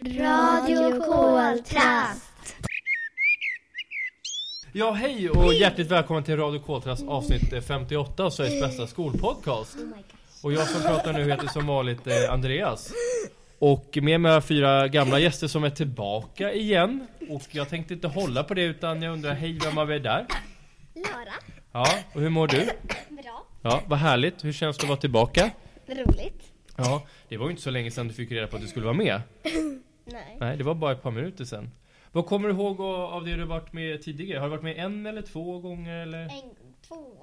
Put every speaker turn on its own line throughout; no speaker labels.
Radio Koltrast.
Ja, hej och hjärtligt välkommen till Radio Koltras avsnitt eh, 58 av Sveriges bästa skolpodcast. Och jag som pratar nu heter som vanligt eh, Andreas. Och med mig har jag fyra gamla gäster som är tillbaka igen. Och jag tänkte inte hålla på det utan jag undrar, hej vem har vi där?
Lara.
Ja, och hur mår du?
Bra.
Ja, vad härligt. Hur känns det att vara tillbaka?
Roligt.
Ja, det var ju inte så länge sedan du fick reda på att du skulle vara med.
Nej.
Nej, det var bara ett par minuter sedan. Vad kommer du ihåg av av det du varit med tidigare? Har du varit med en eller två gånger eller?
En, två.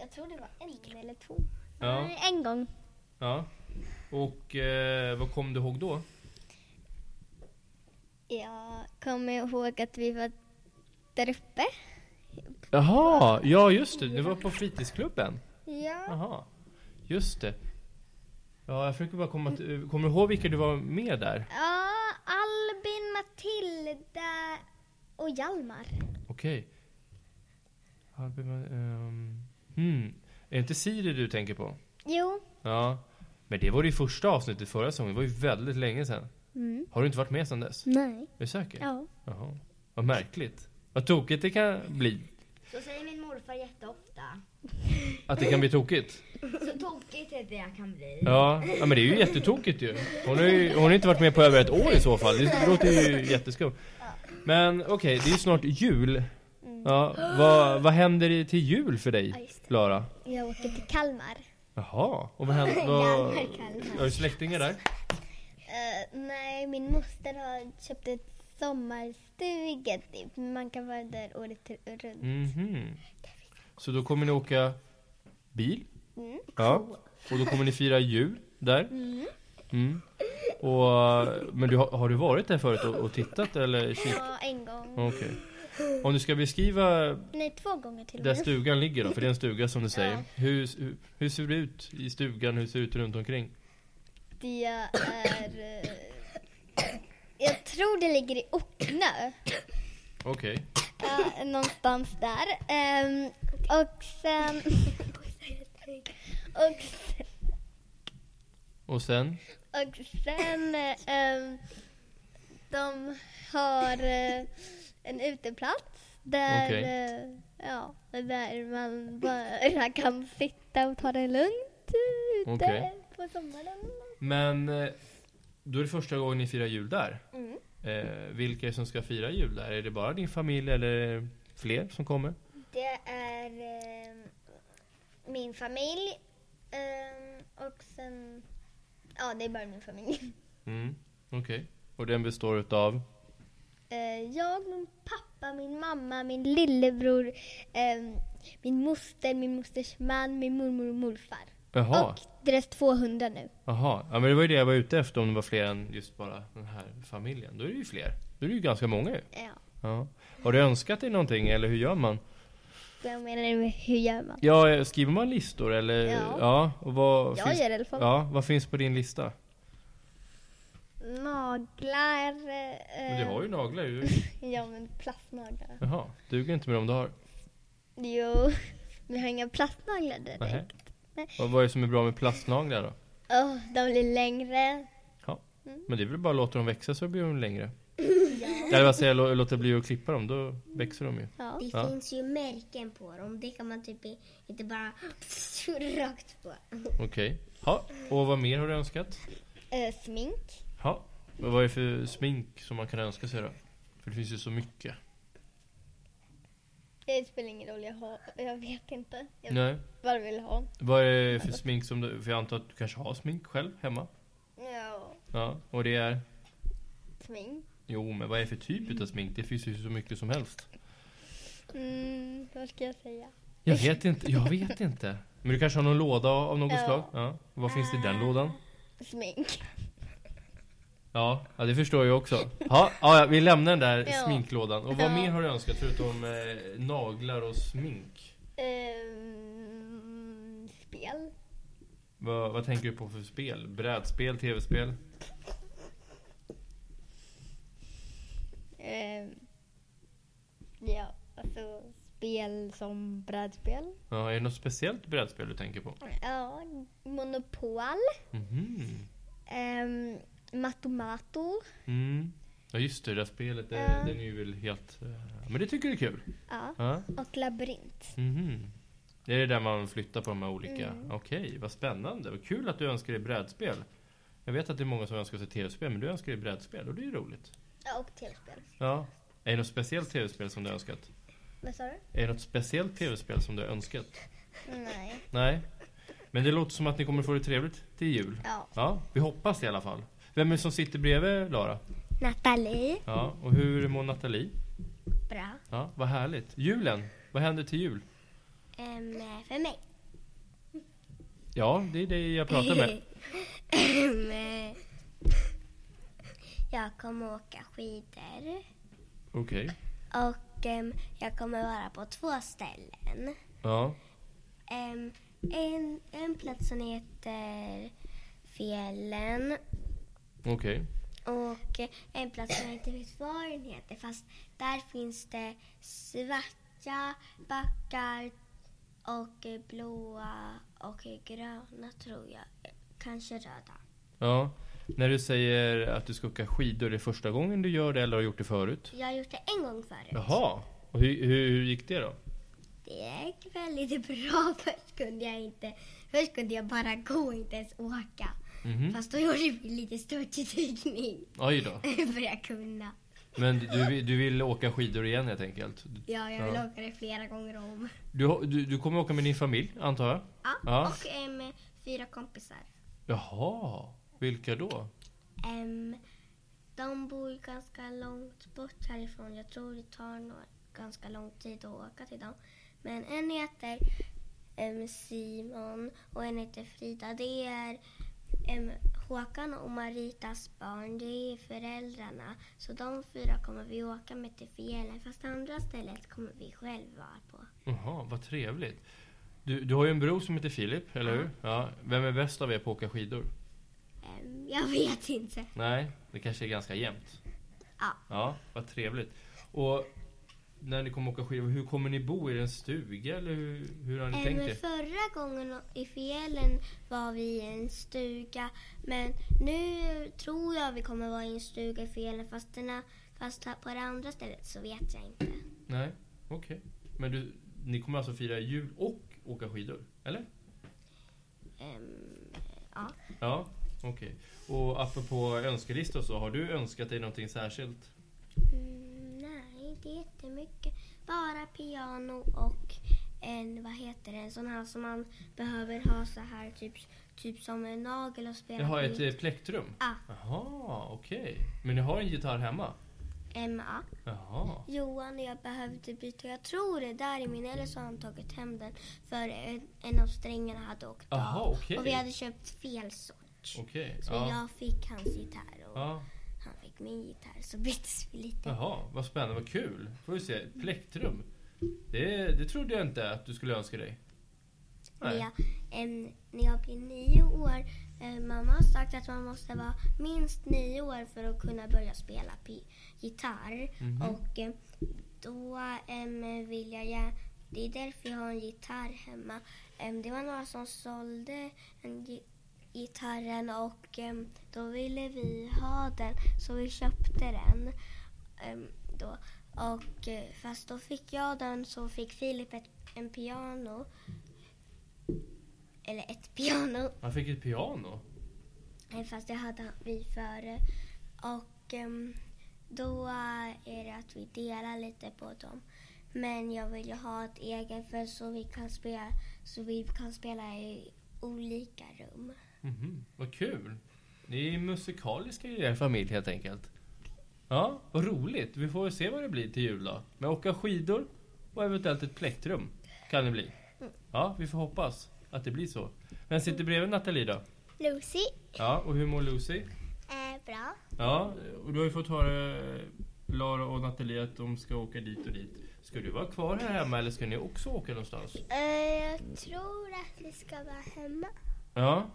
Jag tror det var en eller två.
Ja.
Nej, en gång.
Ja. Och eh, vad kom du ihåg då?
Jag kommer ihåg att vi var där uppe.
Jaha, ja just det. Du var på fritidsklubben.
Ja.
Jaha, just det. Ja, jag försöker bara komma till, eh, Kommer du ihåg vilka du var med där?
Ja, Albin, Matilda och Hjalmar.
Okej. Albin, ehm, hmm. Är det inte Siri du tänker på?
Jo.
Ja. Men det var det första avsnittet förra säsongen. Det var ju väldigt länge sedan.
Mm.
Har du inte varit med sedan dess?
Nej.
Är du säker?
Ja.
Jaha. Vad märkligt. Vad tokigt det kan bli.
Så säger min morfar jätteofta.
Att det kan bli tokigt.
Så tokigt är det kan bli.
Ja, ja, men det är ju jättetokigt ju. Hon har ju hon har inte varit med på över ett år i så fall. Det låter ju jätteskumt. Men okej, det är ju snart jul. Ja, vad, vad händer i- till jul för dig,
Mm. just
Lara?
Jag åker till Kalmar.
Jaha, och vad händer? Vad,
Kalmar, Kalmar.
har du släktingar där?
Eh, nej, min moster har köpt ett sommarstuga typ. Man kan vara där året runt.
Mhm. Så då kommer ni åka bil?
Mm.
Ja. Och då kommer ni fira jul där? Mm. Och, men du, har har du varit där förut och, och tittat eller? kikat?
Ja, en gång.
Okej. Om du ska beskriva
Nej, två gånger till och
Där
med.
stugan ligger då, för det är en stuga som du säger. Hur, hur, hur ser det ut i stugan? Hur ser det ut runt omkring?
Det är... eh, Jag tror det ligger i Ocknö.
Okej.
Ja, någonstans där. Ehm, och sen... Och,
Och sen?
och sen... eh, ehm, de har eh, en uteplats där,
Okej.
eh, ja, där man bara kan sitta och ta det lugnt eh, ute
Okej.
på sommaren.
Men eh, då är det första gången ni firar jul där.
Mm.
Eh, vilka är det som ska fira jul där? Är det bara din familj eller är det fler som kommer?
Det är eh, min familj eh, och sen... Ja, det är bara min familj.
Mm. Okej. Och den består utav?
Eh, jag, min pappa, min mamma, min lillebror, eh, min moster, min mosters man, min mormor och morfar.
Jaha.
Och deras två hundar nu.
Jaha. Ja men det var ju det jag var ute efter om det var fler än just bara den här familjen. Då är det ju fler. Då är det ju ganska många ju.
Ja.
Ja. Har du önskat dig någonting eller hur gör man?
Så jag menar, hur gör man?
Ja, eh, skriver man listor eller?
Ja.
och vad
Jag
finns,
gör i alla fall.
Ja, vad finns på din lista?
Naglar. Eh,
Men du har ju naglar ju.
Ja, men plastnaglar.
Jaha, duger inte med dem du har?
Jo, men jag har inga plastnaglar direkt.
Nähä. Och vad är det som är bra med plastnaglar då?
Åh, de blir längre.
Men det är väl bara att låta dem växa så blir de längre? Eller vad säger jag, lå- låta bli att klippa dem, då växer de ju.
Ja.
Det
Ja.
finns ju märken på dem. Det kan man typ i- inte bara rakt på.
Okej. Ja, och vad mer har du önskat?
Eh, smink.
Ja, och vad är det för smink som man kan önska sig då? För det finns ju så mycket.
Det spelar ingen roll, jag, har, jag vet inte. Jag
Nej.
bara vill ha.
Vad är det för smink som du, för jag antar att du kanske har smink själv hemma?
Ja,
Ja, och det är?
smink.
Jo, men vad är det för typ utav smink? Det finns ju så mycket som helst.
Mm, vad ska jag säga?
Jag vet inte, jag vet inte. Men du kanske har någon låda av något
Ja. Eh.
slag? Ja. Vad finns det i den lådan?
Smink.
Ja, ja det förstår jag också. Ja, ja, vi lämnar den där
Ja.
sminklådan. Och vad
Ja.
mer har du önskat förutom eh, naglar och smink?
Ehm, spel.
Vad, vad tänker du på för spel? Brädspel, tv-spel?
Ehm, ja, alltså spel som brädspel.
Ja, är det något speciellt brädspel du tänker på?
Ja, Monopol.
Mhm.
Ehm,
Matomato.
Mm. Ja just det, det där spelet det,
Ja.
den är ju väl helt... eh, Men det tycker du är kul?
Ja.
Ja.
Och labyrint.
Mhm. Det är det där man flyttar på de här olika... Okej, vad spännande. Vad kul att du önskar dig brädspel. Jag vet att det är många som önskar sig tv-spel, men du önskar dig brädspel och det är ju roligt.
Ja, och tv-spel.
Ja. Är det något speciellt tv-spel som du önskat?
Vad sa du?
Är det något speciellt tv-spel som du har önskat?
Nej.
Nej. Men det låter som att ni kommer få det trevligt till jul.
Ja.
Ja, vi hoppas det i alla fall. Vem är det som sitter bredvid Lara?
Nathalie.
Ja, och hur mår Nathalie?
Bra.
Ja, vad härligt. Julen, vad händer till jul?
Ehm, för mig.
Ja, det är det jag pratar med.
Ehm, eh, jag kommer åka skidor.
Okej.
Och ehm, jag kommer vara på två ställen.
Ja.
Ehm, en, en plats som heter Fjällen
Okej.
och en plats som jag inte vet vad den heter fast där finns det svarta backar och blåa och gröna tror jag. Kanske röda.
Ja. När du säger att du ska åka skidor, är det första gången du gör det eller har gjort det förut?
Jag har gjort det en gång förut.
Jaha. Och hur, hur, hur gick det då?
Det gick väldigt bra. Först kunde jag inte, först kunde jag bara gå, inte ens åka.
Mhm.
Fast då gjorde vi lite störtdykning
Oj då.
för att kunna.
Men du, vill- du vill åka skidor igen helt enkelt?
Ja, jag vill
Ja.
åka det flera gånger om.
Du, har- du, du kommer åka med din familj, antar jag?
Ja,
Ja.
och eh, med fyra kompisar.
Jaha. Vilka då?
Em, de bor ganska långt bort härifrån. Jag tror det tar några, ganska lång tid att åka till dem. Men en heter em, Simon och en heter Frida. Det är em, Håkan och Maritas barn. Det är föräldrarna. Så de fyra kommer vi åka med till fjällen. Fast det andra stället kommer vi själva vara på.
Jaha, vad trevligt. Du, du har ju en bror som heter Filip, eller hur? Ja. Vem är bäst av er på att åka skidor?
Em, jag vet inte.
Nej, det kanske är ganska jämnt.
Ja.
Ja, vad trevligt. Och när ni kommer åka skidor, hur kommer ni bo? Är det en stuga eller hur, hur har ni
Eh,
tänkt
Men
er?
förra gången i fjällen var vi i en stuga. Men nu tror jag vi kommer vara i en stuga i fjällen. Fast, den här, fast här på det andra stället så vet jag inte.
Nej, okej. Men du, ni kommer alltså fira jul och åka skidor? Eller?
Ehm,
Ja, okej. Och apropå önskelistor så, har du önskat dig någonting särskilt?
mm, nej, inte jättemycket. Bara piano och en, vad heter det, en sån här som man behöver ha så här typ, typ som en nagel och spela
Jag har ett
på.
eh, plektrum?
Ja.
Jaha, okej. Men ni har en gitarr hemma?
Ehm, ja.
Jaha.
Johan och jag behövde byta. Jag tror det där är min. Eller så har han tagit hem den. För en- en av strängarna hade åkt
Aha,
av.
okej.
Och vi hade köpt fel sort.
Okej.
Så
Ja.
jag fick hans gitarr och
ja.
han fick min gitarr. Så byttes vi lite.
Jaha, vad spännande, vad kul. Får vi se, plektrum. Det, det trodde jag inte att du skulle önska dig.
När
Nej.
jag, em, när jag blir nio år. Eh, mamma har sagt att man måste vara minst nio år för att kunna börja spela pi- gitarr.
Mhm.
Och eh, då em, vill jag gärna det är därför jag har en gitarr hemma. Em, det var några som sålde en gi- gitarren och em, då ville vi ha den så vi köpte den. Em, då. Och, eh, fast då fick jag den så fick Filip ett, en piano. Eller ett piano.
Han fick ett piano.
Eh, Fast det hade vi före. Och ehm, då är det att vi delar lite på dem. Men jag vill ju ha ett eget för så vi kan spela, så vi kan spela i olika rum.
Mhm, Vad kul. Ni är musikaliska i er familj helt enkelt. Ja, vad roligt. Vi får väl se vad det blir till jul då. Men åka skidor och eventuellt ett plektrum kan det bli. Ja, vi får hoppas att det blir så. Vem sitter bredvid Nathalie då?
Lucy.
Ja, och hur mår Lucy?
bra.
Ja, och du har ju fått höra eh, Lara och Nathalie att de ska åka dit och dit. Ska du vara kvar här hemma eller ska ni också åka någonstans?
Eh, jag tror att vi ska vara hemma.
Ja.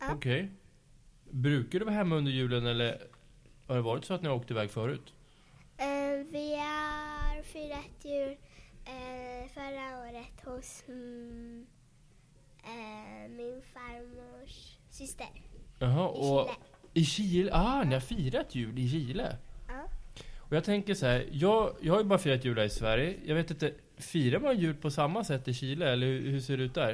Ja.
Okej. Brukar du vara hemma under julen eller har det varit så att ni har åkt iväg förut?
Eh, vi har firat jul eh, förra året hos mm, min farmors syster.
Jaha, och, I Chile? Ah, ni har firat jul i Chile?
Ja.
Och jag tänker så här, jag, jag har ju bara firat jul här i Sverige. Jag vet inte, firar man jul på samma sätt i Chile eller hur, hur ser det ut där?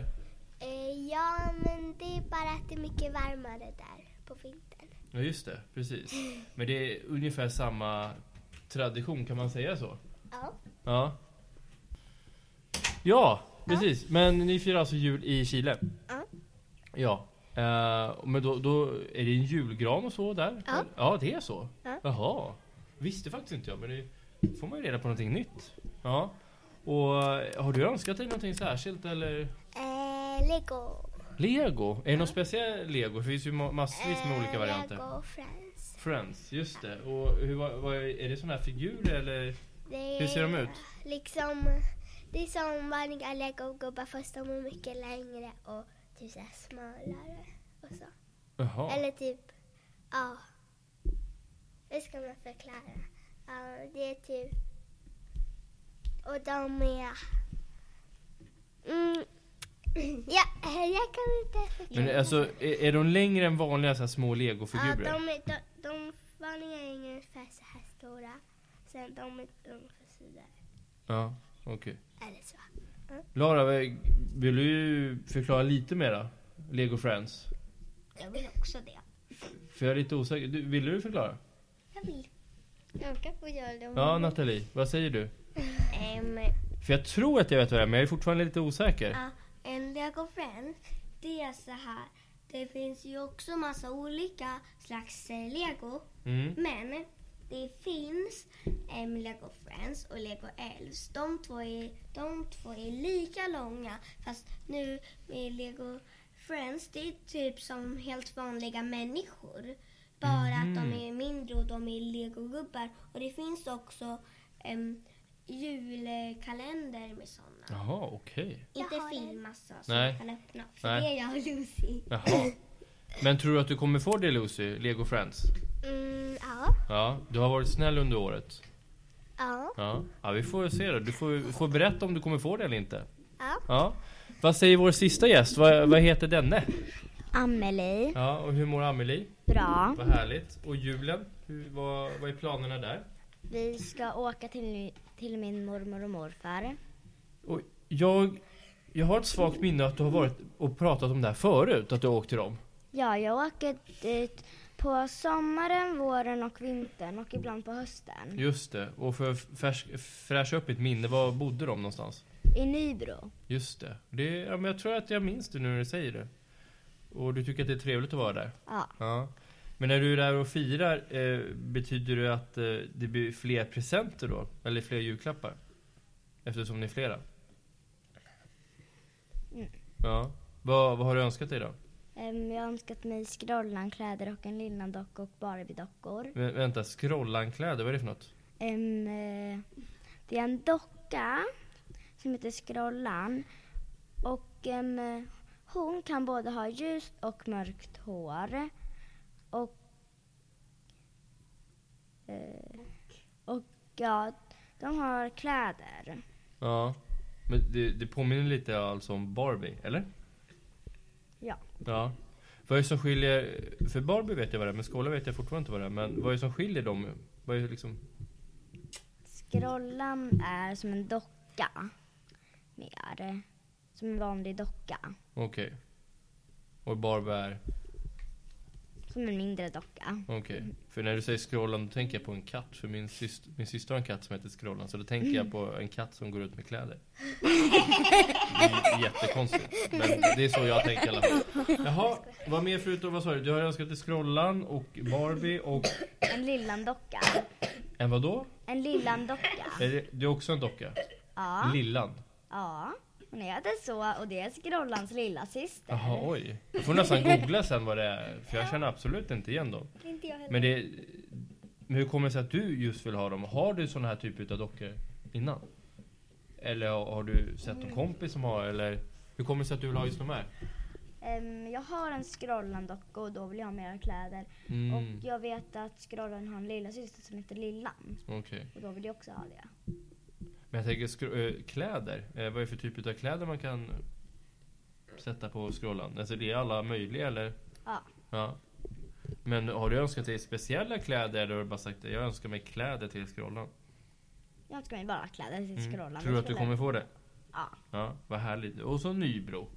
Eh, Ja, men det är bara att det är mycket varmare där på vintern.
Ja just det, precis. Men det är ungefär samma tradition, kan man säga så?
Ja.
Ja. Ja, precis. Men ni firar alltså jul i Chile?
Ja.
Ja. Eh, men då, då är det en julgran och så där?
Ja.
Ja, det är så?
Ja.
Jaha. Visste faktiskt inte jag, men det får man ju reda på någonting nytt. Ja. Och eh, har du önskat dig någonting särskilt eller?
Eh, Lego.
Lego? Är det någon speciell lego? För Det finns ju ma- massvis med olika
Eh,
varianter.
Lego Friends.
Friends, just det. Och hur, vad, vad, är det såna här figurer eller?
Det
Hur ser de
är
ut?
Liksom, det är som vanliga legogubbar fast de är mycket längre och typ såhär smalare och så.
Jaha.
Eller typ, ja. Hur ska man förklara? Ja, det är typ, och de är, mm, ja, jag kan inte förklara.
Men alltså, är, är de längre än vanliga så här små
ja,
legofigurer?
de, är- de, de vanliga är ungefär så här stora. Sen de är ungefär sådär,
Ja, okej.
eller så.
Lara, vad- vill du förklara lite mera? Lego Friends?
Jag vill också det.
För jag är lite osäker. Du, vill du förklara?
Jag vill.
Jag kan få göra det om
Ja, Nathalie, vad säger du?
Um,
För jag tror att jag vet vad det är, men jag är fortfarande lite osäker.
Ja, Ah, en Lego Friends, det är så här. Det finns ju också massa olika slags eh, Lego.
Mm.
Men det finns em, Lego Friends och Lego Elves. De två, är, de två är lika långa. Fast nu med Lego Friends, det är typ som helt vanliga människor. Bara att de är mindre och de är legogubbar. Och det finns också em, julkalender med sådana.
Jaha, okej.
Inte film alltså, som
Nej.
jag kan öppna. För
Nej.
det är jag och Lucy.
Jaha. Men tror du att du kommer få det Lucy, Lego Friends?
Mm, ja.
Ja, du har varit snäll under året.
Ja.
Ja, ja vi får se då. Du får, får berätta om du kommer få det eller inte.
Ja.
ja. Vad säger vår sista gäst? Vad, vad heter denne?
Amelie.
Ja, och hur mår Amelie?
Bra.
Vad härligt. Och julen? Hur, vad, vad är planerna där?
Vi ska åka till, till min mormor och morfar.
Och jag, jag har ett svagt minne att du har varit och pratat om det här förut, att du har åkt till dem.
Ja, jag åker dit på sommaren, våren och vintern och ibland på hösten.
Just det. Och för att färsk, fräscha upp mitt minne, var bodde de någonstans?
I Nybro.
Just det. det ja, men jag tror att jag minns det nu när du säger det. Och du tycker att det är trevligt att vara där?
Ja.
Ja. Men när du är där och firar, eh, betyder det att eh, det blir fler presenter då? Eller fler julklappar? Eftersom ni är flera? Ja. Vad, vad har du önskat dig då?
Ehm, Jag har önskat mig Skrollan-kläder och en Lillan-docka och Barbie-dockor.
Vä- vänta, scrollankläder, vad är det för något?
Ehm, eh, Det är en docka som heter Skrollan och ehm, eh, hon kan både ha ljust och mörkt hår. Och, eh, och ja, de har kläder.
Ja. Men det, det påminner lite alltså om Barbie, eller?
Ja.
Ja. Vad är det som skiljer, för Barbie vet jag vad det är, men Skåla vet jag fortfarande inte vad det är. Men vad är det som skiljer dem? Vad är det liksom,
Skrollan är som en docka. Mer. Som en vanlig docka.
okej. Och Barbie är,
Som en mindre docka.
okej. För när du säger scrollan, då tänker jag på en katt. För min, syst, min syster har en katt som heter Scrollan. Så då tänker jag på en katt som går ut med kläder. Det är jättekonstigt. Men det är så jag tänker i alla fall. Jaha, vad mer förutom, vad sa du? Du har önskat dig Scrollan och Barbie och
En Lillan-docka.
En vadå?
En Lillan-docka.
Är det, det är också en docka?
Ja.
Lillan?
Ja, hon heter så och det är Skrollans lilla syster.
Jaha, oj. Jag får nästan googla sen vad det är, för jag känner absolut inte igen dem.
Inte jag heller.
Men, det, men hur kommer det sig att du just vill ha dem? Har du såna här typer av dockor innan? Eller har har du sett någon kompis som har, eller hur kommer det sig att du vill ha just de här?
Ehm, jag har en Skrollan-docka och då vill jag ha mera kläder.
Mm,
Och jag vet att Skrollan har en lilla syster som heter Lillan
okej.
och då vill jag också ha det.
Men jag tänker skro- eh, kläder. Eh, Vad är det för typ av kläder man kan sätta på scrollan? Alltså det är alla möjliga eller?
Ja.
Ja. Men har du önskat dig speciella kläder eller har du bara sagt jag önskar mig kläder till skrollan?
Jag önskar mig bara kläder till
Mm.
skrollan.
Tror du att du
Skrollan.
kommer få det?
Ja.
Ja, vad härligt. Och så Nybro.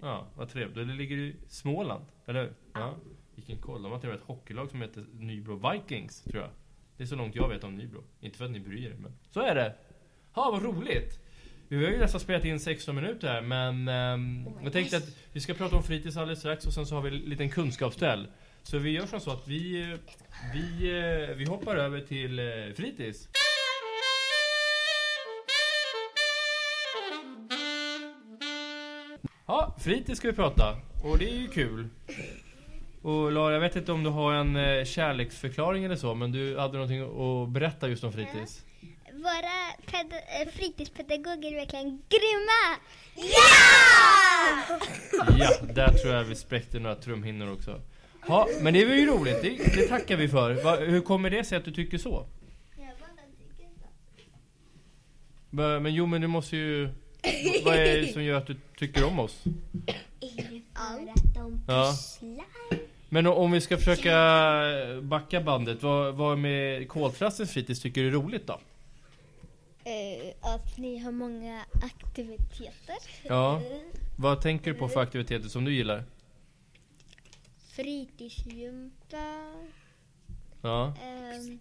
Ja, vad trevligt. Det ligger i Småland, eller hur? Ja. Vilken koll. De har till och med ett hockeylag som heter Nybro Vikings, tror jag. Det är så långt jag vet om Nybro. Inte för att ni bryr er, men så är det. Ja, vad roligt! Vi har ju nästan spelat in 16 minuter här, men ehm, jag tänkte att vi ska prata om fritids alldeles strax och sen så har vi en liten kunskapsduell. Så vi gör som så att vi, eh, vi, eh, vi hoppar över till eh, fritids. Ja, fritid ska vi prata. Och det är ju kul. Och Lara, jag vet inte om du har en eh, kärleksförklaring eller så, men du hade någonting att berätta just om fritids.
Våra ped- eh, fritidspedagoger är verkligen grymma!
Ja, där tror jag vi spräckte några trumhinnor också. Ja, men det var ju roligt. Det, det tackar vi för. Va, hur kommer det sig att du tycker så? Va, Men jo, men du måste ju... Vad är det som gör att du tycker om oss?
Allt. De
Ja.
pysslar.
Men o- om vi ska försöka backa bandet, vad, vad med koltrastens fritids tycker du är roligt då?
Eh, att ni har många aktiviteter.
Ja. Vad tänker du på för aktiviteter som du gillar?
Fritidsgympa,
Ja.
eh,
ehm,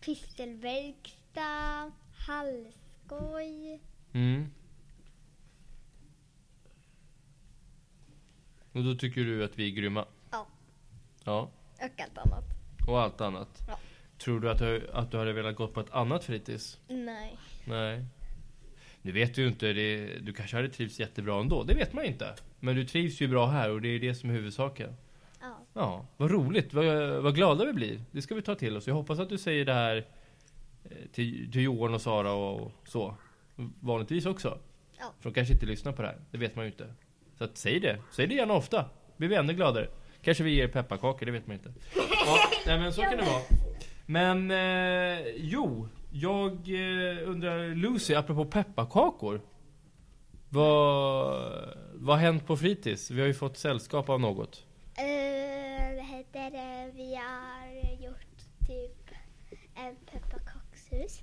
pysselverkstad, hallskoj.
Mm. Och då tycker du att vi är grymma?
Ja.
Ja,
Och allt annat.
och allt annat?
Ja.
Tror du att, du att du hade velat gå på ett annat fritids?
Nej.
Nej. Nu vet du ju inte, det, du kanske hade trivts jättebra ändå, det vet man ju inte. Men du trivs ju bra här och det är det som är huvudsaken.
Ja.
Ja, vad roligt, vad, vad glada vi blir. Det ska vi ta till oss. Jag hoppas att du säger det här eh, till, till Johan och Sara och, och så. Vanligtvis också.
Ja.
För de kanske inte lyssnar på det här, det vet man ju inte. Så att, säg det, säg det gärna ofta. Blir vi ännu gladare. Kanske vi ger pepparkakor, det vet man inte. Ja, nej men så kan det vara. Men eh, jo, jag eh, undrar Lucy, apropå pepparkakor. Vad, vad har hänt på fritids? Vi har ju fått sällskap av något.
Eh, vad heter det? Vi har gjort typ en pepparkakshus.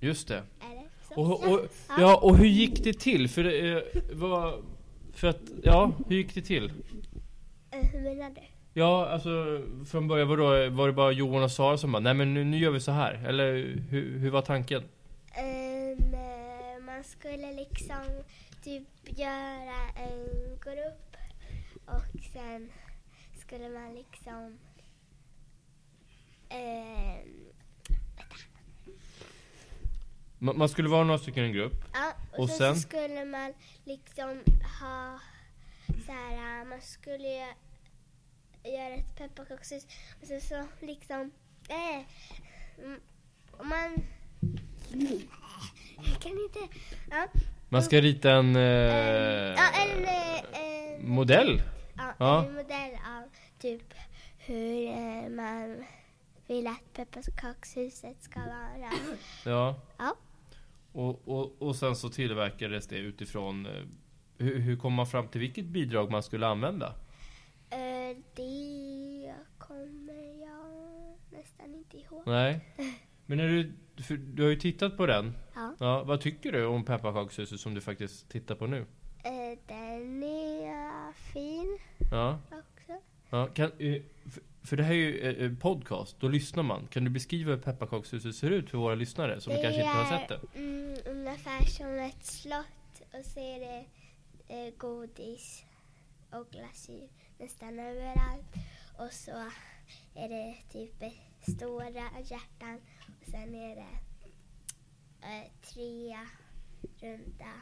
Just det.
Är det så?
Och, och, ja, och hur gick det till? För, eh, vad, för att, ja, hur gick det till?
Eh, hur menar du?
Ja, alltså från början var det, var det bara Johan och Sara som bara, nej men nu, nu gör vi så här. Eller hur, hur var tanken?
Ehm, eh, man skulle liksom typ göra en grupp och sen skulle man liksom... ehm,
Man, man skulle vara några stycken i en grupp.
ja, och,
Och
sen,
sen?
så skulle man liksom ha så här, äh, man skulle gö- göra ett pepparkakshus och sen så liksom... Eh, mm, och man... Jag kan inte... Ja,
Man ska rita
Ehm,
en eh,
ja, en, eh, en,
modell.
ja,
ja.
en modell av typ hur eh, man vill att pepparkakshuset ska vara.
Ja.
Ja.
Och, och, och sen så tillverkades det utifrån, eh, hur, hur kom man fram till vilket bidrag man skulle använda?
Eh, det kommer jag nästan inte ihåg.
Nej. Men när du, för du har ju tittat på den.
Ja.
vad tycker du om pepparkakshuset som du faktiskt tittar på nu?
Eh, den är fin
Ja.
också.
ja kan, eh, för, för det här är ju eh, eh, podcast, då lyssnar man. Kan du beskriva hur pepparkakshuset ser ut för våra lyssnare som
Det
kanske inte har
är-
sett det?
Mm, ungefär som ett slott och så är det eh, godis och glasyr nästan överallt. Och så är det typ eh, stora hjärtan och sen är det eh, tre runda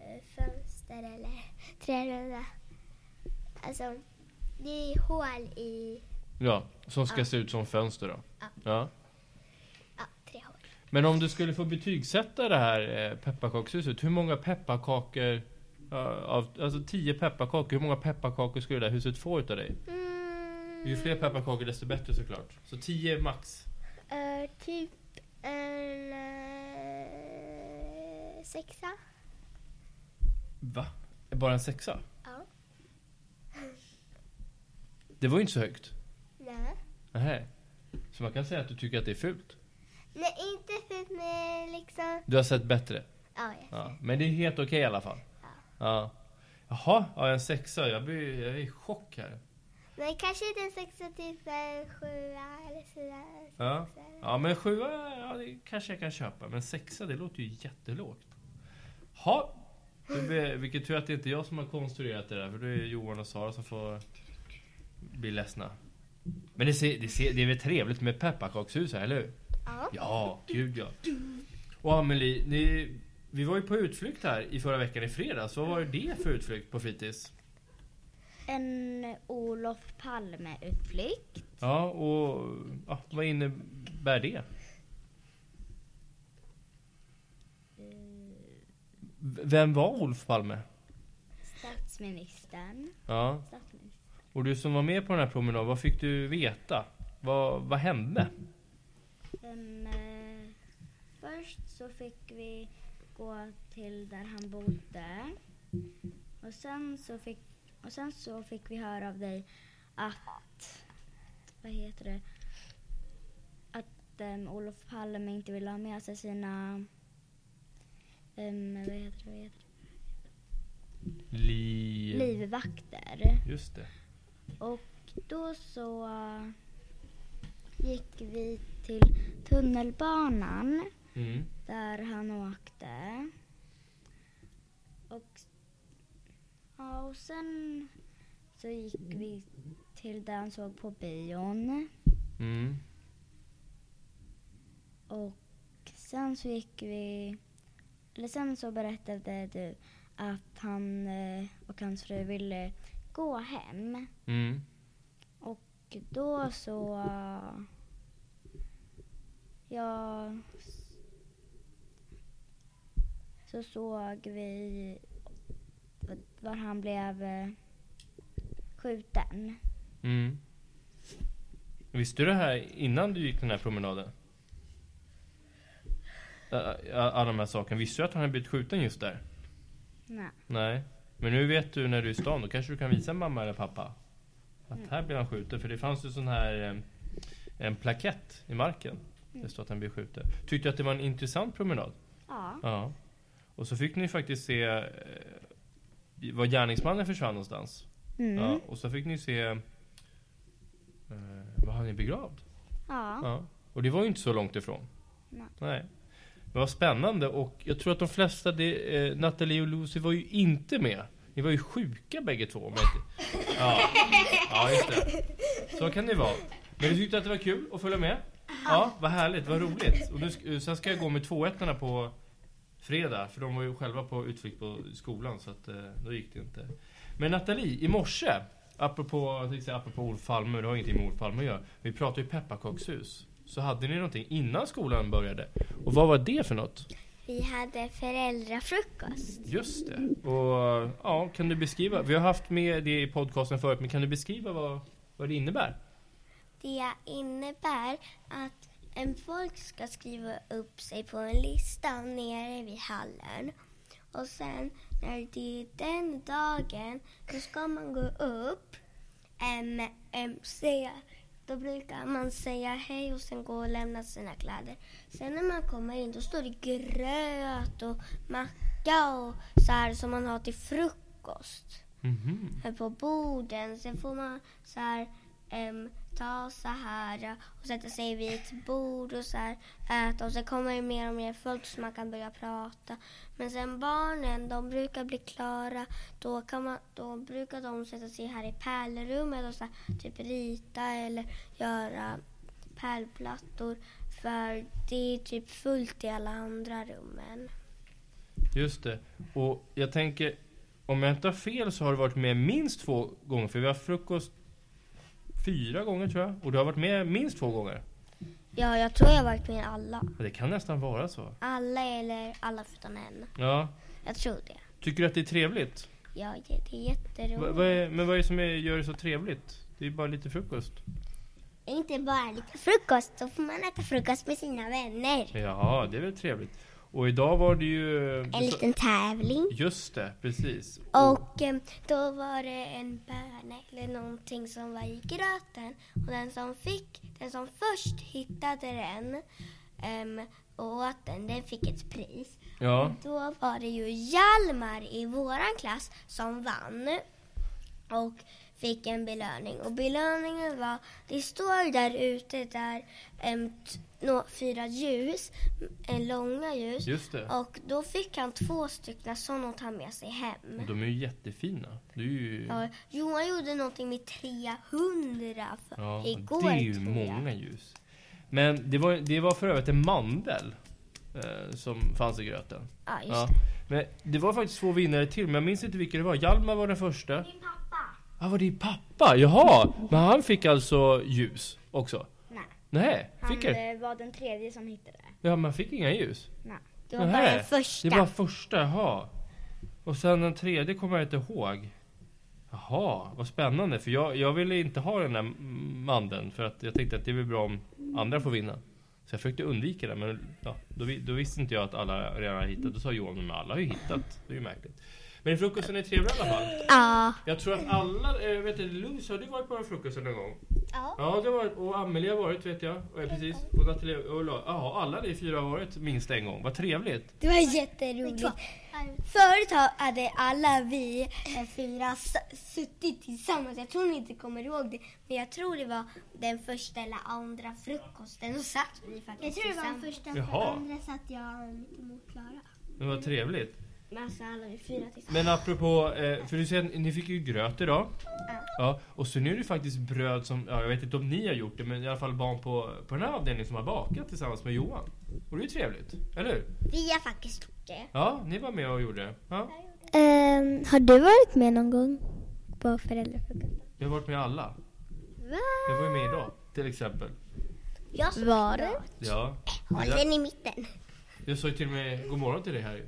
eh, fönster eller tre runda. Alltså, det är hål i,
Ja, som ska se ut som fönster då.
Ja.
Ja.
ja, tre hål.
Men om du skulle få betygsätta det här eh, pepparkakshuset, hur många pepparkakor ja, av, alltså tio pepparkakor, hur många pepparkakor skulle det där huset få utav dig? Ju fler
Mm.
pepparkakor desto bättre såklart. Så tio max.
Eh, typ en eh, sexa.
Va? Bara en sexa?
Ja.
Det var ju inte så högt.
Nej.
Nähä. Så man kan säga att du tycker att det är fult.
Nej, inte för mig liksom.
Du har sett bättre.
Ja, ja.
Ja. Men det är helt okej i alla fall. Ja. Jaha, ja, en sexa. Jag, blir, jag är i chock här.
Men kanske inte en sexa, typ en sjua eller fyra.
Ja. Ja men sjua, ja, det kanske jag kan köpa. Men sexa, det låter ju jättelågt. Ha. Det blir- Vilket tur att det inte är jag som har konstruerat det där. För då är det Johan och Sara som får bli ledsna. Men det, ser, det, ser, det är väl trevligt med pepparkakshus här, eller hur?
Ja.
Ja, gud ja. Och Amelie, ni, vi var ju på utflykt här i förra veckan i fredags. Vad var det för utflykt på fritids?
En Olof Palme-utflykt.
Ja, och ja, vad innebär det? V- Vem var Olof Palme?
Statsministern.
Ja,
Statsministern.
och du som var med på den här promenaden, vad fick du veta? Vad, vad hände?
eh, först så fick vi gå till där han bodde. Och sen så fick, och sen så fick vi höra av dig att, vad heter det, att um, Olof Palme inte ville ha med sig sina, em, vad heter det, vad heter det?
Li...
livvakter.
Just det.
Och då så eh, gick vi till tunnelbanan
Mm.
där han åkte. Och, ja, och sen så gick vi till där han såg på bion.
Mm.
Och sen så gick vi... Eller sen så berättade du att han eh, och hans fru ville gå hem.
Mm.
Och då så... eh, Ja... s- Så såg vi var han blev eh, skjuten.
Mm. Visste du det här innan du gick den här promenaden? Ä- ä- Alla de här sakerna. Visste du att han hade blivit skjuten just där?
Nej.
Nej. Men nu vet du när du är i stan. Då kanske du kan visa mamma eller pappa. Att här blev han skjuten. För det fanns ju sån här em, en plakett i marken. Det stod att han blev skjuten. Tyckte du att det var en intressant promenad?
Ja.
Ja. Och så fick ni faktiskt se eh, var gärningsmannen försvann någonstans.
Mm.
Ja,
Ja.
och så fick ni se eh, var han är begravd.
ja.
Ja. Och det var ju inte så långt ifrån.
Nej.
Det var spännande och jag tror att de flesta, det, eh, Nathalie och Lucy var ju inte med. Ni var ju sjuka bägge två. om jag inte- Ja. ja, just det. Så kan det vara. Men du tyckte att det var kul att följa med? Ja, vad härligt, vad roligt. Och nu, sk- eh, sen ska jag gå med tvåettorna på fredag, för de var ju själva på utflykt på skolan så att eh, då gick det inte. Men Nathalie, i morse, apropå, jag tänkte säga apropå Olof Palme, det har ingenting med Olof Palme att göra. Vi pratade ju pepparkakshus. Så hade ni någonting innan skolan började? Och vad var det för något?
Vi hade föräldrafrukost.
Just det. Och ja, kan du beskriva? Vi har haft med det i podcasten förut, men kan du beskriva vad, vad det innebär?
Det innebär att en folk ska skriva upp sig på en lista nere vid hallen. Och sen när det är den dagen, då ska man gå upp äm, äm, säga, då brukar man säga hej och sen gå och lämna sina kläder. Sen när man kommer in då står det gröt och macka och så här som man har till frukost
Mhm.
här på borden. Sen får man så här, em, ta så här eh, och sätta sig vid ett bord och så här, äta. Och sen kommer det mer och mer folk så man kan börja prata. Men sen barnen, de brukar bli klara. Då, kan man, då brukar de sätta sig här i pärlrummet och så här, typ rita eller göra pärlplattor. För det är typ fullt i alla andra rummen.
Just det. Och jag tänker, om jag inte har fel så har du varit med minst två gånger, för vi har haft frukost fyra gånger tror jag. Och du har varit med minst två gånger.
Ja, jag tror jag har varit med i alla.
Ja, Det kan nästan vara så.
Alla eller alla förutom en.
Ja.
Jag tror det.
Tycker du att det är trevligt?
Ja, det, det är jätteroligt.
Va, vad är, men vad är det som är, gör det så trevligt? Det är ju bara lite frukost.
Inte bara lite frukost, då får man äta frukost med sina vänner.
Ja, det är väl trevligt. Och idag var det ju...
En liten tävling.
Just det, precis.
Och eh, då var det en bärne eller någonting som var i gröten. Och den som fick, den som först hittade den ehm, och åt den, den fick ett pris.
Ja,
Då var det ju Hjalmar i våran klass som vann och fick en belöning. Och belöningen var, det står där ute där em, t- nå, fyra ljus, en långa ljus.
just det.
Och då fick han två stycken som att ta med sig hem.
De är ju jättefina. Det är ju...
Ja, Johan gjorde någonting med 300 för,
Ja,
igår.
det är ju
tror
många ljus. Men det var, det var för övrigt en mandel eh, som fanns i gröten.
Ja, just
Ja. Men det var faktiskt två vinnare till, men jag minns inte vilka det var. Hjalmar var den första.
Min pappa.
Ah, var det din pappa? Jaha! Men han fick alltså ljus också?
Nej.
Nej,
Han
fick han?
eh, var den tredje som hittade.
Ja, man fick inga ljus.
Det var bara
Nähä.
den första.
Det var första, jaha. Och sen den tredje kommer jag inte ihåg. Jaha, vad spännande. För jag, jag ville inte ha den där mandeln. För att jag tänkte att det är väl bra om andra får vinna. Så jag försökte undvika det. Men ja, då, vi- då visste inte jag att alla redan har hittat. Då sa Johan, men alla har ju hittat. Det är ju märkligt. Men frukosten är trevlig i alla fall.
Ja.
Jag tror att alla, eh, vet du, Luz, har du varit på den frukosten någon gång?
Ja.
Ja, det har varit, och Amelie har varit vet jag. Och, eh, precis. Och Nathalie och Ulla. Ja, alla ni fyra har varit minst en gång. Vad trevligt.
Det var jätteroligt. Förut ha- hade alla vi eh, fyra s- suttit tillsammans. Jag tror ni inte kommer ihåg det, men jag tror det var den första eller andra frukosten. Då satt vi faktiskt
Jag tror det var den
tillsammans.
första,
Jaha.
för andra satt jag mitt emot Klara.
Det var trevligt.
Men alltså alla vi fyra tillsammans.
Men apropå, eh, för du säger att ni fick ju gröt idag. Ja. Och så nu är det faktiskt bröd som, ja, jag vet inte om ni har gjort det, men i alla fall barn på, på den här avdelningen som har bakat tillsammans med Johan. Och det är ju trevligt, eller hur?
Vi har faktiskt gjort det.
Ja, ni var med och gjorde det. Ja.
Ehm,
har du varit med någon gång på föräldrafrukost?
Jag har varit med alla. Jag var ju med idag, till exempel.
Jag såg
Var det?
Ja.
Håll den i mitten.
Jag sa ju till och med god morgon till dig här ju. Eh,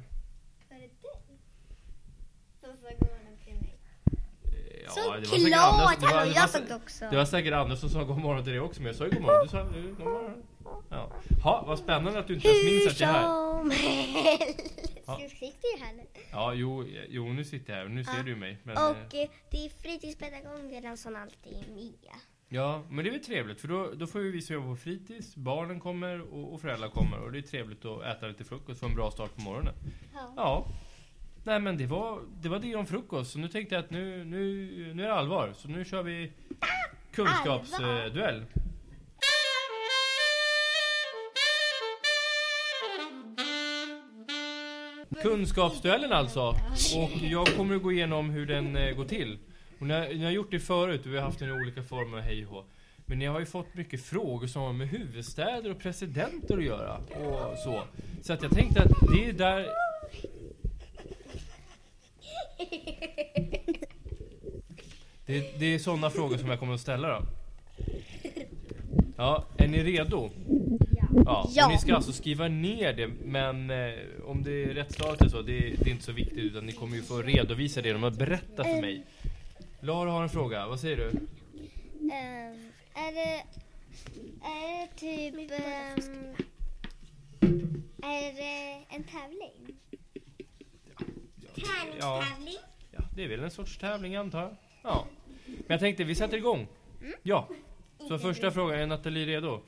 Ja, det var säkert Anders-
Såklart!
det var-
Hallå,
det var
jag
sä-
såg också.
Det var säkert Anders som sa god morgon till dig också, men jag sa ju god morgon. Du sa eh, god morgon. Ja. Ha, vad spännande att du inte ens minns att jag är här.
som helst.
Ja.
sitter ju här nu.
Ja, jo, jo nu sitter jag här. Nu ser du mig. Men, eh,
Och eh, det är fritidspedagogerna som alltid är med.
ja, men det är väl trevligt för då, då får ju vi som jobbar på fritids, barnen kommer och, och föräldrar kommer och det är trevligt att äta lite frukost, få en bra start på morgonen. Ja. Nej men det var det, var det om frukost, så nu tänkte jag att nu, nu, nu är det allvar. Så nu kör vi kunskapsduell. Kunskapsduellen alltså. Och jag kommer att gå igenom hur den eh, går till. Och ni, har, ni har gjort det förut, och vi har haft den i olika former, hej och hå. Men ni har ju fått mycket frågor som har med huvudstäder och presidenter att göra. Och så. så att jag tänkte att det är där... Det, det är sådana frågor som jag kommer att ställa då. Ja, är ni redo? Ja.
Ja.
och Ni ska alltså skriva ner det, men eh, om det är rätt svar eller så, det, det är inte så viktigt utan ni kommer ju få redovisa det genom att berätta för mig. Lara har en fråga, vad säger du?
Ehm, är det... Är det typ... ehm, är det en tävling?
Ja, ja, det är väl en sorts tävling antar jag. Ja. Men jag tänkte, vi sätter igång. Ja. Så första frågan, är Nathalie redo?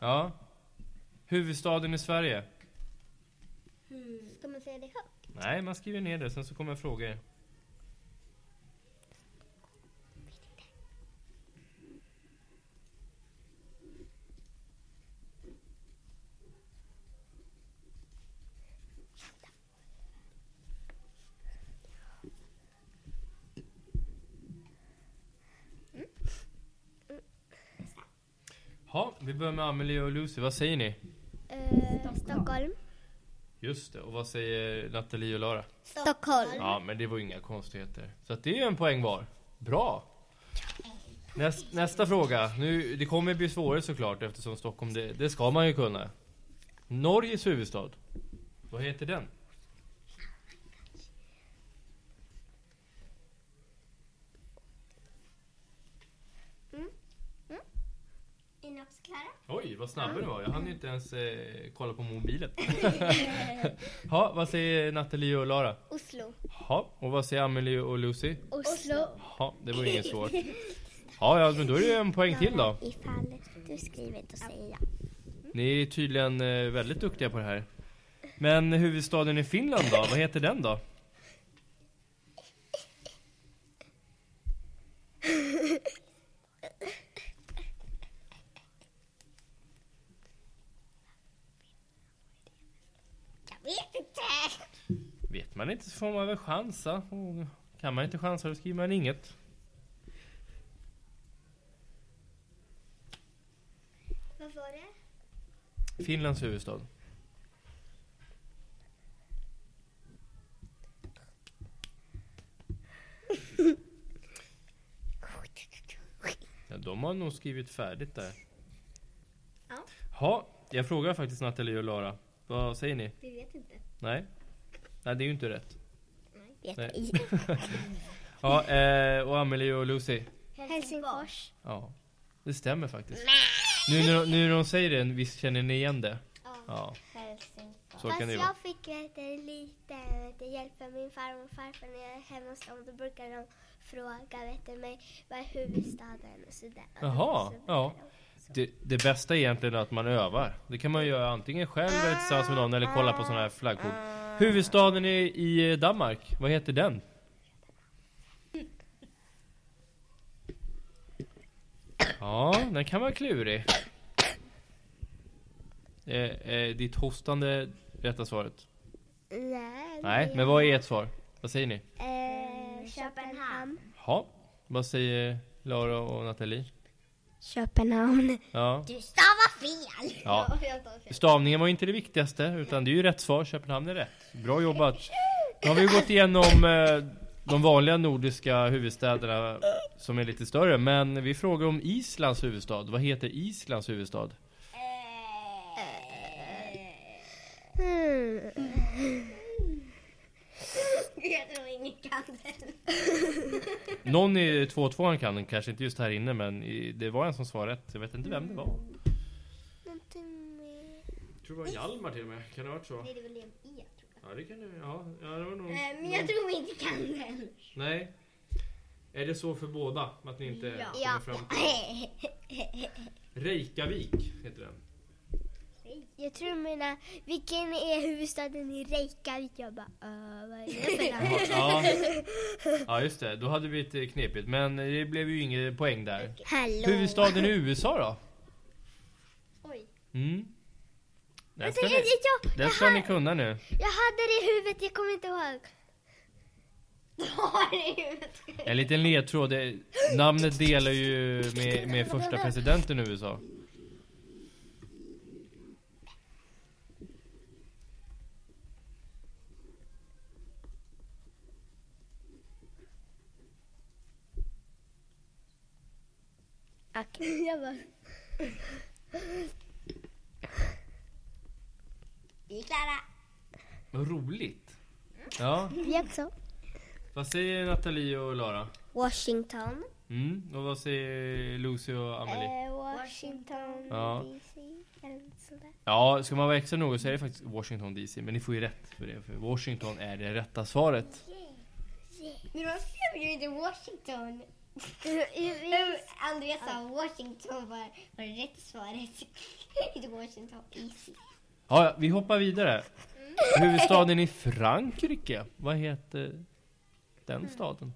Ja. Huvudstaden i Sverige?
Ska man säga det högt?
Nej, man skriver ner det, sen så kommer frågor. Ja, vi börjar med Amelie och Lucy. Vad säger ni?
Ehm,
Stockholm.
Just det, och vad säger Nathalie och Lara?
Stockholm.
Ja, men det var ju inga konstigheter. Så att det är ju en poäng var. Bra! Näst, nästa fråga. Nu, det kommer bli svårare såklart eftersom Stockholm, det, det ska man ju kunna. Norges huvudstad. Vad heter den?
Inakskrivet. Klara?
Oj, vad snabb du var. Jag hann ju inte ens eh, kolla på mobilen. ha, vad säger Nathalie och Lara?
Oslo.
Ja, och vad säger Amelie och Lucy?
Oslo.
Ja, det var inget svårt. Ja, ja, men då är det ju en poäng till då.
Ifall du skriver då säger jag.
Ni är tydligen eh, väldigt duktiga på det här. Men huvudstaden i Finland då? Vad heter den då?
Jag vet inte!
Vet man inte så får man väl chansa. Och kan man inte chansa då skriver man inget.
Vad var det?
Finlands huvudstad. Ja, de har nog skrivit färdigt där.
Ja.
Ha, jag frågar faktiskt Nathalie och Lara. Vad säger ni?
Vi vet inte.
Nej? Nej, det är ju inte rätt.
Vet
Nej.
ej.
Ja, eh, och Amelie och Lucy.
Helsingfors.
Ja, det stämmer faktiskt. Nu när, de- nu när de säger det, visst känner ni igen det? Ja,
Helsingfors.
så kan
Fast
det vara.
jag fick ett eh, lite vet du, hjälp av min farmor och farfar när jag är hemma hos dem. Då brukar de fråga vet du, mig vad är huvudstaden och sådär.
Jaha, ja. Det, det bästa är egentligen att man övar. Det kan man ju göra antingen själv eller tillsammans med någon eller kolla på sådana här flaggkort. Huvudstaden i, i Danmark, vad heter den? Ja, den kan vara klurig. Eh, eh, ditt hostande rätta svaret?
Nej.
Nej, men vad är ert svar? Vad säger ni?
Eh,
Köpenhamn.
Ja, vad säger Lara och Nathalie?
Köpenhamn.
Ja.
Du stavar fel!
Ja. Stavningen var ju inte det viktigaste, utan det är ju rätt svar. Köpenhamn är rätt. Bra jobbat. Nu har vi ju gått igenom eh, de vanliga nordiska huvudstäderna som är lite större, men vi frågar om Islands huvudstad. Vad heter Islands huvudstad?
Jag tror ingen kan den.
Någon i 2-2 kan den, kanske inte just här inne, men i, det var en som svarade rätt. Jag vet inte vem det var. Jag tror det var Hjalmar till och med. Kan det ha varit så?
Nej, det var Liam E.
Ja, det kan det. Ja, ja det var nog.
Eh,
Men jag tror vi inte kan den.
Nej. Är det så för båda? Att ni inte
Ja.
kommer fram till... Reykjavik heter den.
Jag tror mina, vilken är huvudstaden i Reykjavik? Jag bara, äh, vad är det för namn?
Ja. ja, just det. Då hade vi lite knepigt. Men det blev ju inget poäng där.
Hallå.
Huvudstaden i USA då?
Oj.
Mm. Den
Vänta,
ska,
jag,
ni,
jag,
den ska ni kunna nu.
jag hade det i huvudet, jag kommer inte ihåg.
En liten ledtråd. Det, namnet delar ju med, med första presidenten i USA.
Jag bara,
Vi är klara.
Vad roligt. Ja.
vi också.
Vad säger Nathalie och Lara?
Washington.
Mm. Och vad säger Lucy och Amelie?
Eh, Washington
Ja.
DC eller sådär.
Ja, ska man vara extra noga så är det faktiskt Washington DC. Men ni får ju rätt för det. För Washington är det rätta svaret.
Men de skrev ju inte Washington. Andreas sa Washington var, var det rätt svaret. inte Washington.
Ja, ja, vi hoppar vidare. Huvudstaden i Frankrike. Vad heter den staden?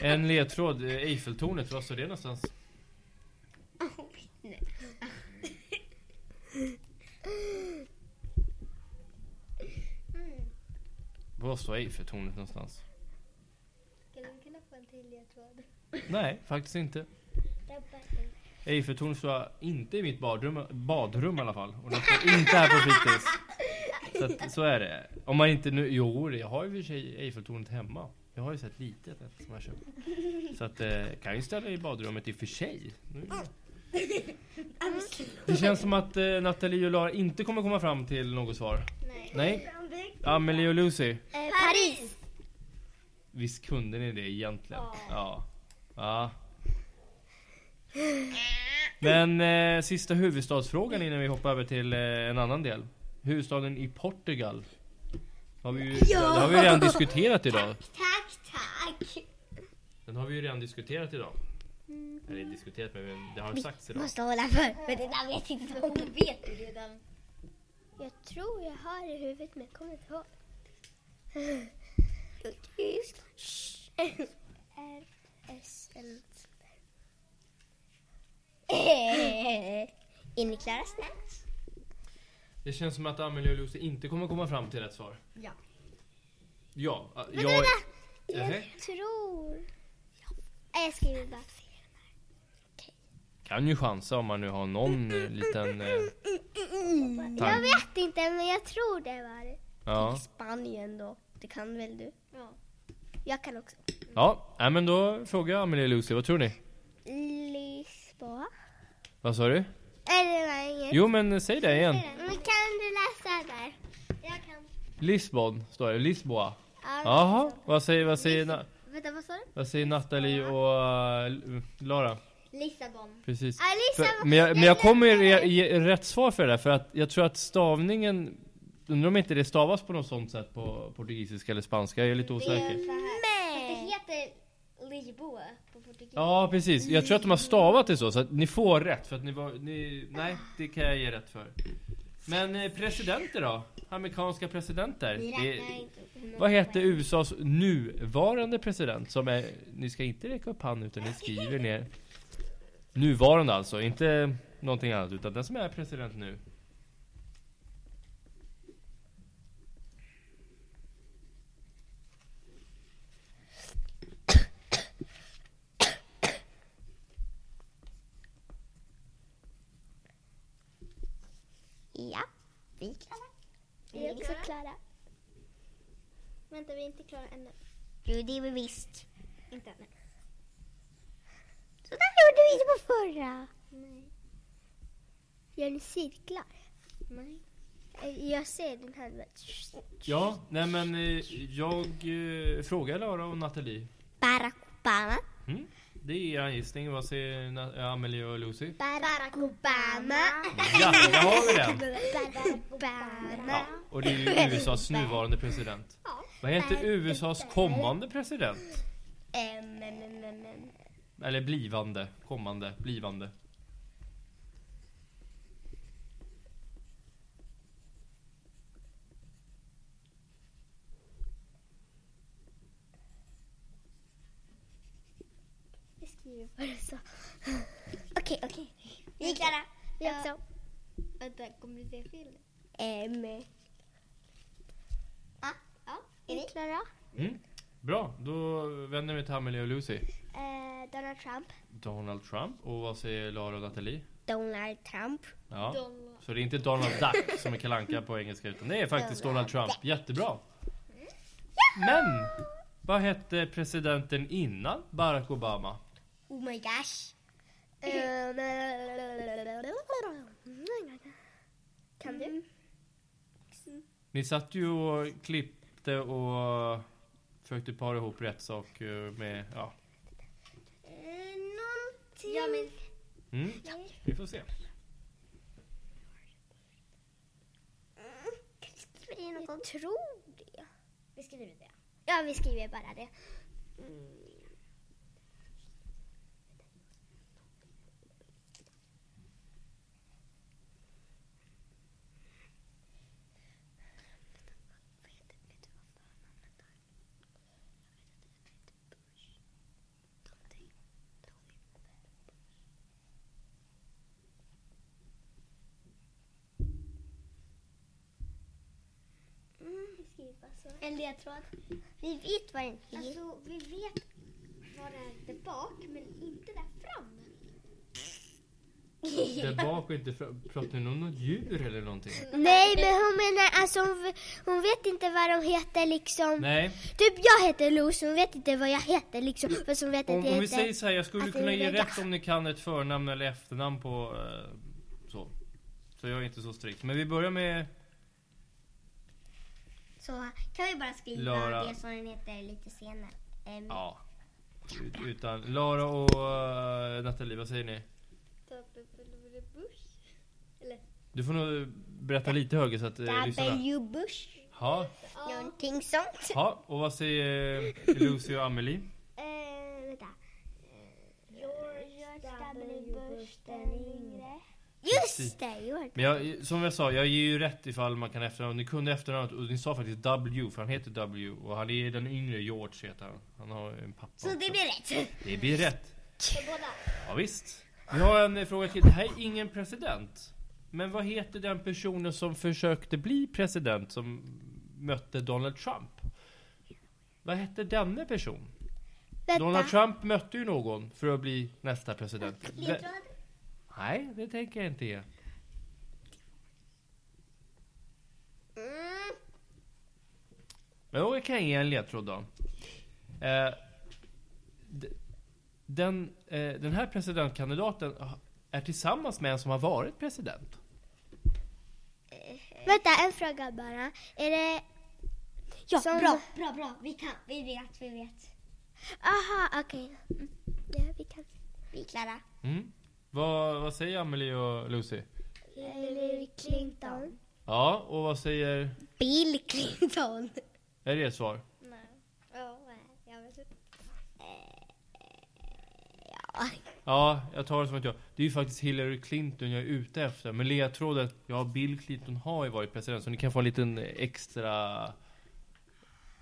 En ledtråd. eh, Eiffeltornet. Var står det någonstans? Var står Eiffeltornet någonstans?
Kan du kunna få en till ledtråd?
Nej, faktiskt inte. Eiffeltornet står inte i mitt badrum, badrum i alla fall. Och den står inte här på fritids. Så, att, så är det. Om man inte nu... Jo, jag har ju i och för sig Eiffeltornet hemma. Jag har ju sett litet ett som jag köpt. Så att eh, kan ju ställa i badrummet i och för sig. Nu- Det känns som att eh, Nathalie och Lara inte kommer komma fram till något svar. Nej. Amelie och Lucy,
Eh, Paris.
visst kunde ni det egentligen? Ja. Ja. Men eh, sista huvudstadsfrågan innan vi hoppar över till eh, en annan del. Huvudstaden i Portugal. Har vi ju, Det har vi ju redan diskuterat idag.
Tack, tack.
Den har vi ju redan diskuterat idag. Eller diskuterat men det har sagts idag.
Måste hålla för, men det där vet inte om.
vet du redan. Jag tror jag har det i huvudet men jag kommer inte ihåg. Jag är Tyst. R, S, L.
Är ni klara snart?
Det känns som att Amelie och Lucy inte kommer komma fram till rätt svar.
Ja.
Ja, äh, jag... Nähä,
Tror. Ja. Jag skriver bara.
kan ju chansa om man nu har någon eh, liten... Eh,
Jag
tanke.
vet inte men jag tror det var det.
Ja.
Spanien då. Det kan väl du?
Jag kan också.
Ja, nej, men då frågar jag Amelie och Lucy, vad tror ni?
Lisboa.
Vad sa du?
Eller nej, inget.
Jo men säg det igen.
Men kan du läsa där? Jag kan.
Lisbon står det, Lisboa.
Ja,
Jaha, vad säger, vad säger, na,
Vänta, vad sa du?
vad säger Nathalie och äh, Lara?
Lissabon.
Precis.
Ja, Lissabon.
För, men jag, men jag kommer ge, ge rätt svar för det där, för att jag tror att stavningen Undrar om inte det stavas på något sånt sätt på portugisiska eller spanska, jag är lite osäker.
Nej.
Det heter Lisboa på portugisiska.
Ja precis, jag tror att de har stavat det så, så att ni får rätt för att ni var, ni, nej det kan jag ge rätt för. Men eh, presidenter då? Amerikanska presidenter? Det, vad heter USAs nuvarande president som är, ni ska inte räcka upp handen utan ni skriver ner. Nuvarande alltså, inte någonting annat utan den som är president nu.
Ja, vi kan.
Vi är också klara. Vänta, vi är inte klara ännu.
Jo, det är vi visst.
Inte ännu.
Så där gjorde vi inte på förra.
Gör ni cirklar? Nej. Jag ser den här. men-
Ja, nej men eh, jag eh, frågar Lara och Nathalie.
Barack Obama.
Mm? Det är en gissning, vad säger Na- eh, Amelie och Lucy?
Barack Obama.
Ja, där har vi den!
Barack Obama.
Ja, och det är ju USAs nuvarande president. Vad heter USAs kommande president?
Mm, mm, mm, mm.
Eller blivande, kommande, blivande.
Jag skriver bara så. Okej, okej. Vi är klara. Vi också. Vänta, kommer du se fel? Ehm. Ja. Ah, ja. Är ni klara?
Mm. Bra, då vänder vi till Amelie och Lucy.
Eh, Donald Trump.
Donald Trump, och vad säger Lara och Nathalie?
Donald Trump.
Ja. Så det är inte Donald Duck som är kalanka på engelska utan det är faktiskt Donald Mm. Trump. Jättebra! Men! Vad hette presidenten innan Barack Obama?
Oh my gosh. Ehm, kan du?
Ni satt ju och klippte och försökte para ihop rätt sak eh, med, ja.
Eh, Någonting. Ja, men
Mm. Vi får se.
skriver något. Jag tror det. Vi skriver det. Ja, vi skriver bara det. Vi skriver bara så. En ledtråd.
Vi vet vad den heter.
Alltså, vi vet vad det är där bak, men inte där fram.
Där bak och inte fram. Pratar ni om något djur eller någonting?
Nej, men hon menar alltså hon, hon vet inte vad de heter liksom.
Nej,
Typ jag heter Los, hon vet inte vad jag heter liksom. Fast hon vet
om,
att jag
om vi
heter...
säger så här, jag skulle
Alltså,
kunna ge
jag-
rätt om ni kan ett förnamn eller efternamn på eh, så. Så jag är inte så strikt. Men vi börjar med
Så kan vi bara skriva
Lara.
det som den heter lite senare. Ehm,
Ja. Ut- Utan Lara och eh, Nathalie, vad säger ni?
Typ
Du får nog berätta lite högre så att eh, lyssnarna...
W. Bush.
Ja,
Någonting sånt.
ja, och vad säger Lucy och Amelie?
Eh, vänta.
Eh,
George W. Bush den yngre.
Just det, George.
Men jag, som jag sa, jag ger ju rätt ifall man kan efternamn. Ni kunde efternamnet och ni sa faktiskt W för han heter W och han är den yngre George heter han. Han har en pappa
Så det
också.
blir rätt.
det blir rätt.
För båda.
Ja, visst. Vi har en eh, fråga till. Det här är ingen president. Men vad heter den personen som försökte bli president som mötte Donald Trump? Vad hette denne person? Donald Trump mötte ju någon för att bli nästa president. Ve- Nej, det tänker jag inte ge.
Mm.
Men jag kan ge en ledtråd då. Eh, d- den, eh, den här presidentkandidaten är tillsammans med en som har varit president.
Vänta, en fråga bara. Är det...
Ja,
som-
bra.
Bra, bra. Vi kan. Vi vet, vi vet.
Aha, okej. Mm. Ja, vi kan.
Vi är klara.
Mm. Vad, vad säger Amelie och Lucy?
Hillary Clinton.
Ja, och vad säger...
Bill Clinton.
Är det ert svar?
Nej. Ja, jag vet inte.
Ja, jag tar det som att jag... Det är ju faktiskt Hillary Clinton jag är ute efter. Men ledtrådet, ja, Bill Clinton har ju varit president. Så ni kan få en liten extra...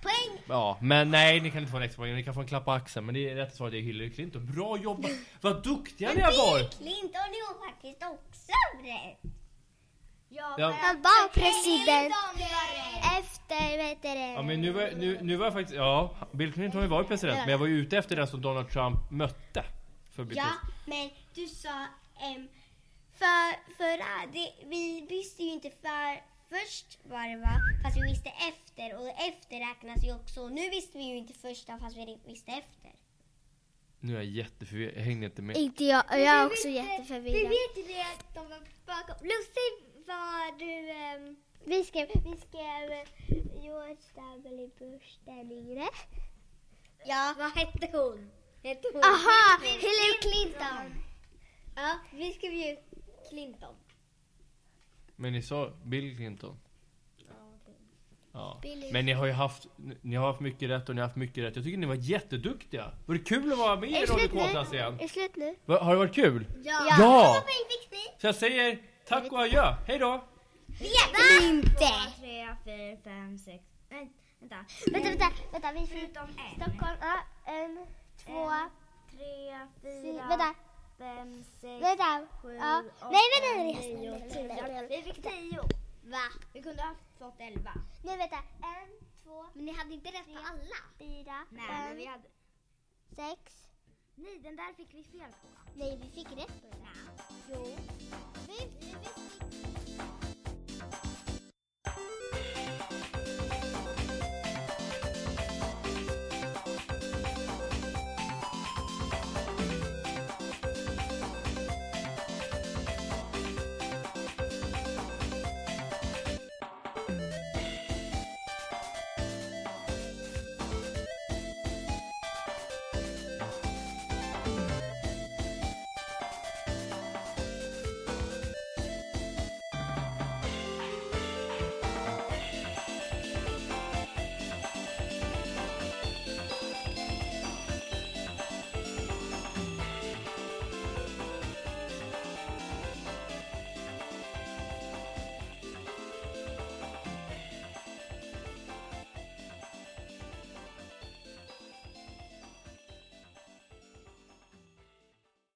Poäng!
Ja, men nej, ni kan inte få en extra poäng. Ni kan få en klapp på axeln. Men det är rätt svar det är Hillary Clinton. Bra jobbat! Vad duktiga ni har varit!
Clinton gjorde faktiskt också rätt.
Ja.
Han var president efter, vad heter det?
Ja men nu var, nu, nu var jag faktiskt, ja Bill Clinton har ju varit president men jag var ju ute efter den som Donald Trump mötte. För att bli
Ja,
president.
men du sa em, för, förra, det, vi visste ju inte för, först vad det var, fast vi visste efter och efter räknas ju också. Nu visste vi ju inte första fast vi visste efter.
Nu är jag jätteförvirrad, jag hängde inte med.
Inte jag, jag är
Vi
också
vet-
jätteförvirrad.
Vi vet ju det att de var bakom. Lucy var du... ehm,
Vi skrev, vi skrev eh, George W. Bush den yngre.
ja. Vad hette hon? Hette hon?
Aha, Hillary Clinton.
Ja, vi skrev ju Clinton.
Men ni sa Bill Clinton? Ja. Men ni har ju haft, ni har haft mycket rätt och ni har haft mycket rätt. Jag tycker ni var jätteduktiga. Var det kul att vara med i Radio K-klass igen?
Är det slut nu?
Va- Har det varit kul?
Ja!
Ja!
Poäng fick ni!
Så jag säger tack och adjö, hej då!
Vet inte!
tre, fyra, fem, sex. Nej, vänta.
Vänta, vänta, vänta. Vi fick
Förutom en.
Stockholm. Ja, en, två,
Tre,
fyra,
fyra,
vänta,
fem, sex,
vänta.
sju,
Ja.
åtta,
Nej, vänta, nej,
nio,
nej, nej, nej,
tio.
nej.
Vi fick tio.
Va?
Vi kunde ha fått elva.
Nu vänta. En, två,
Men ni hade inte rätt på alla.
fyra,
Nej, men vi
fem,
hade...
sex.
Nej, den där fick vi fel på.
Nej, vi fick rätt på den.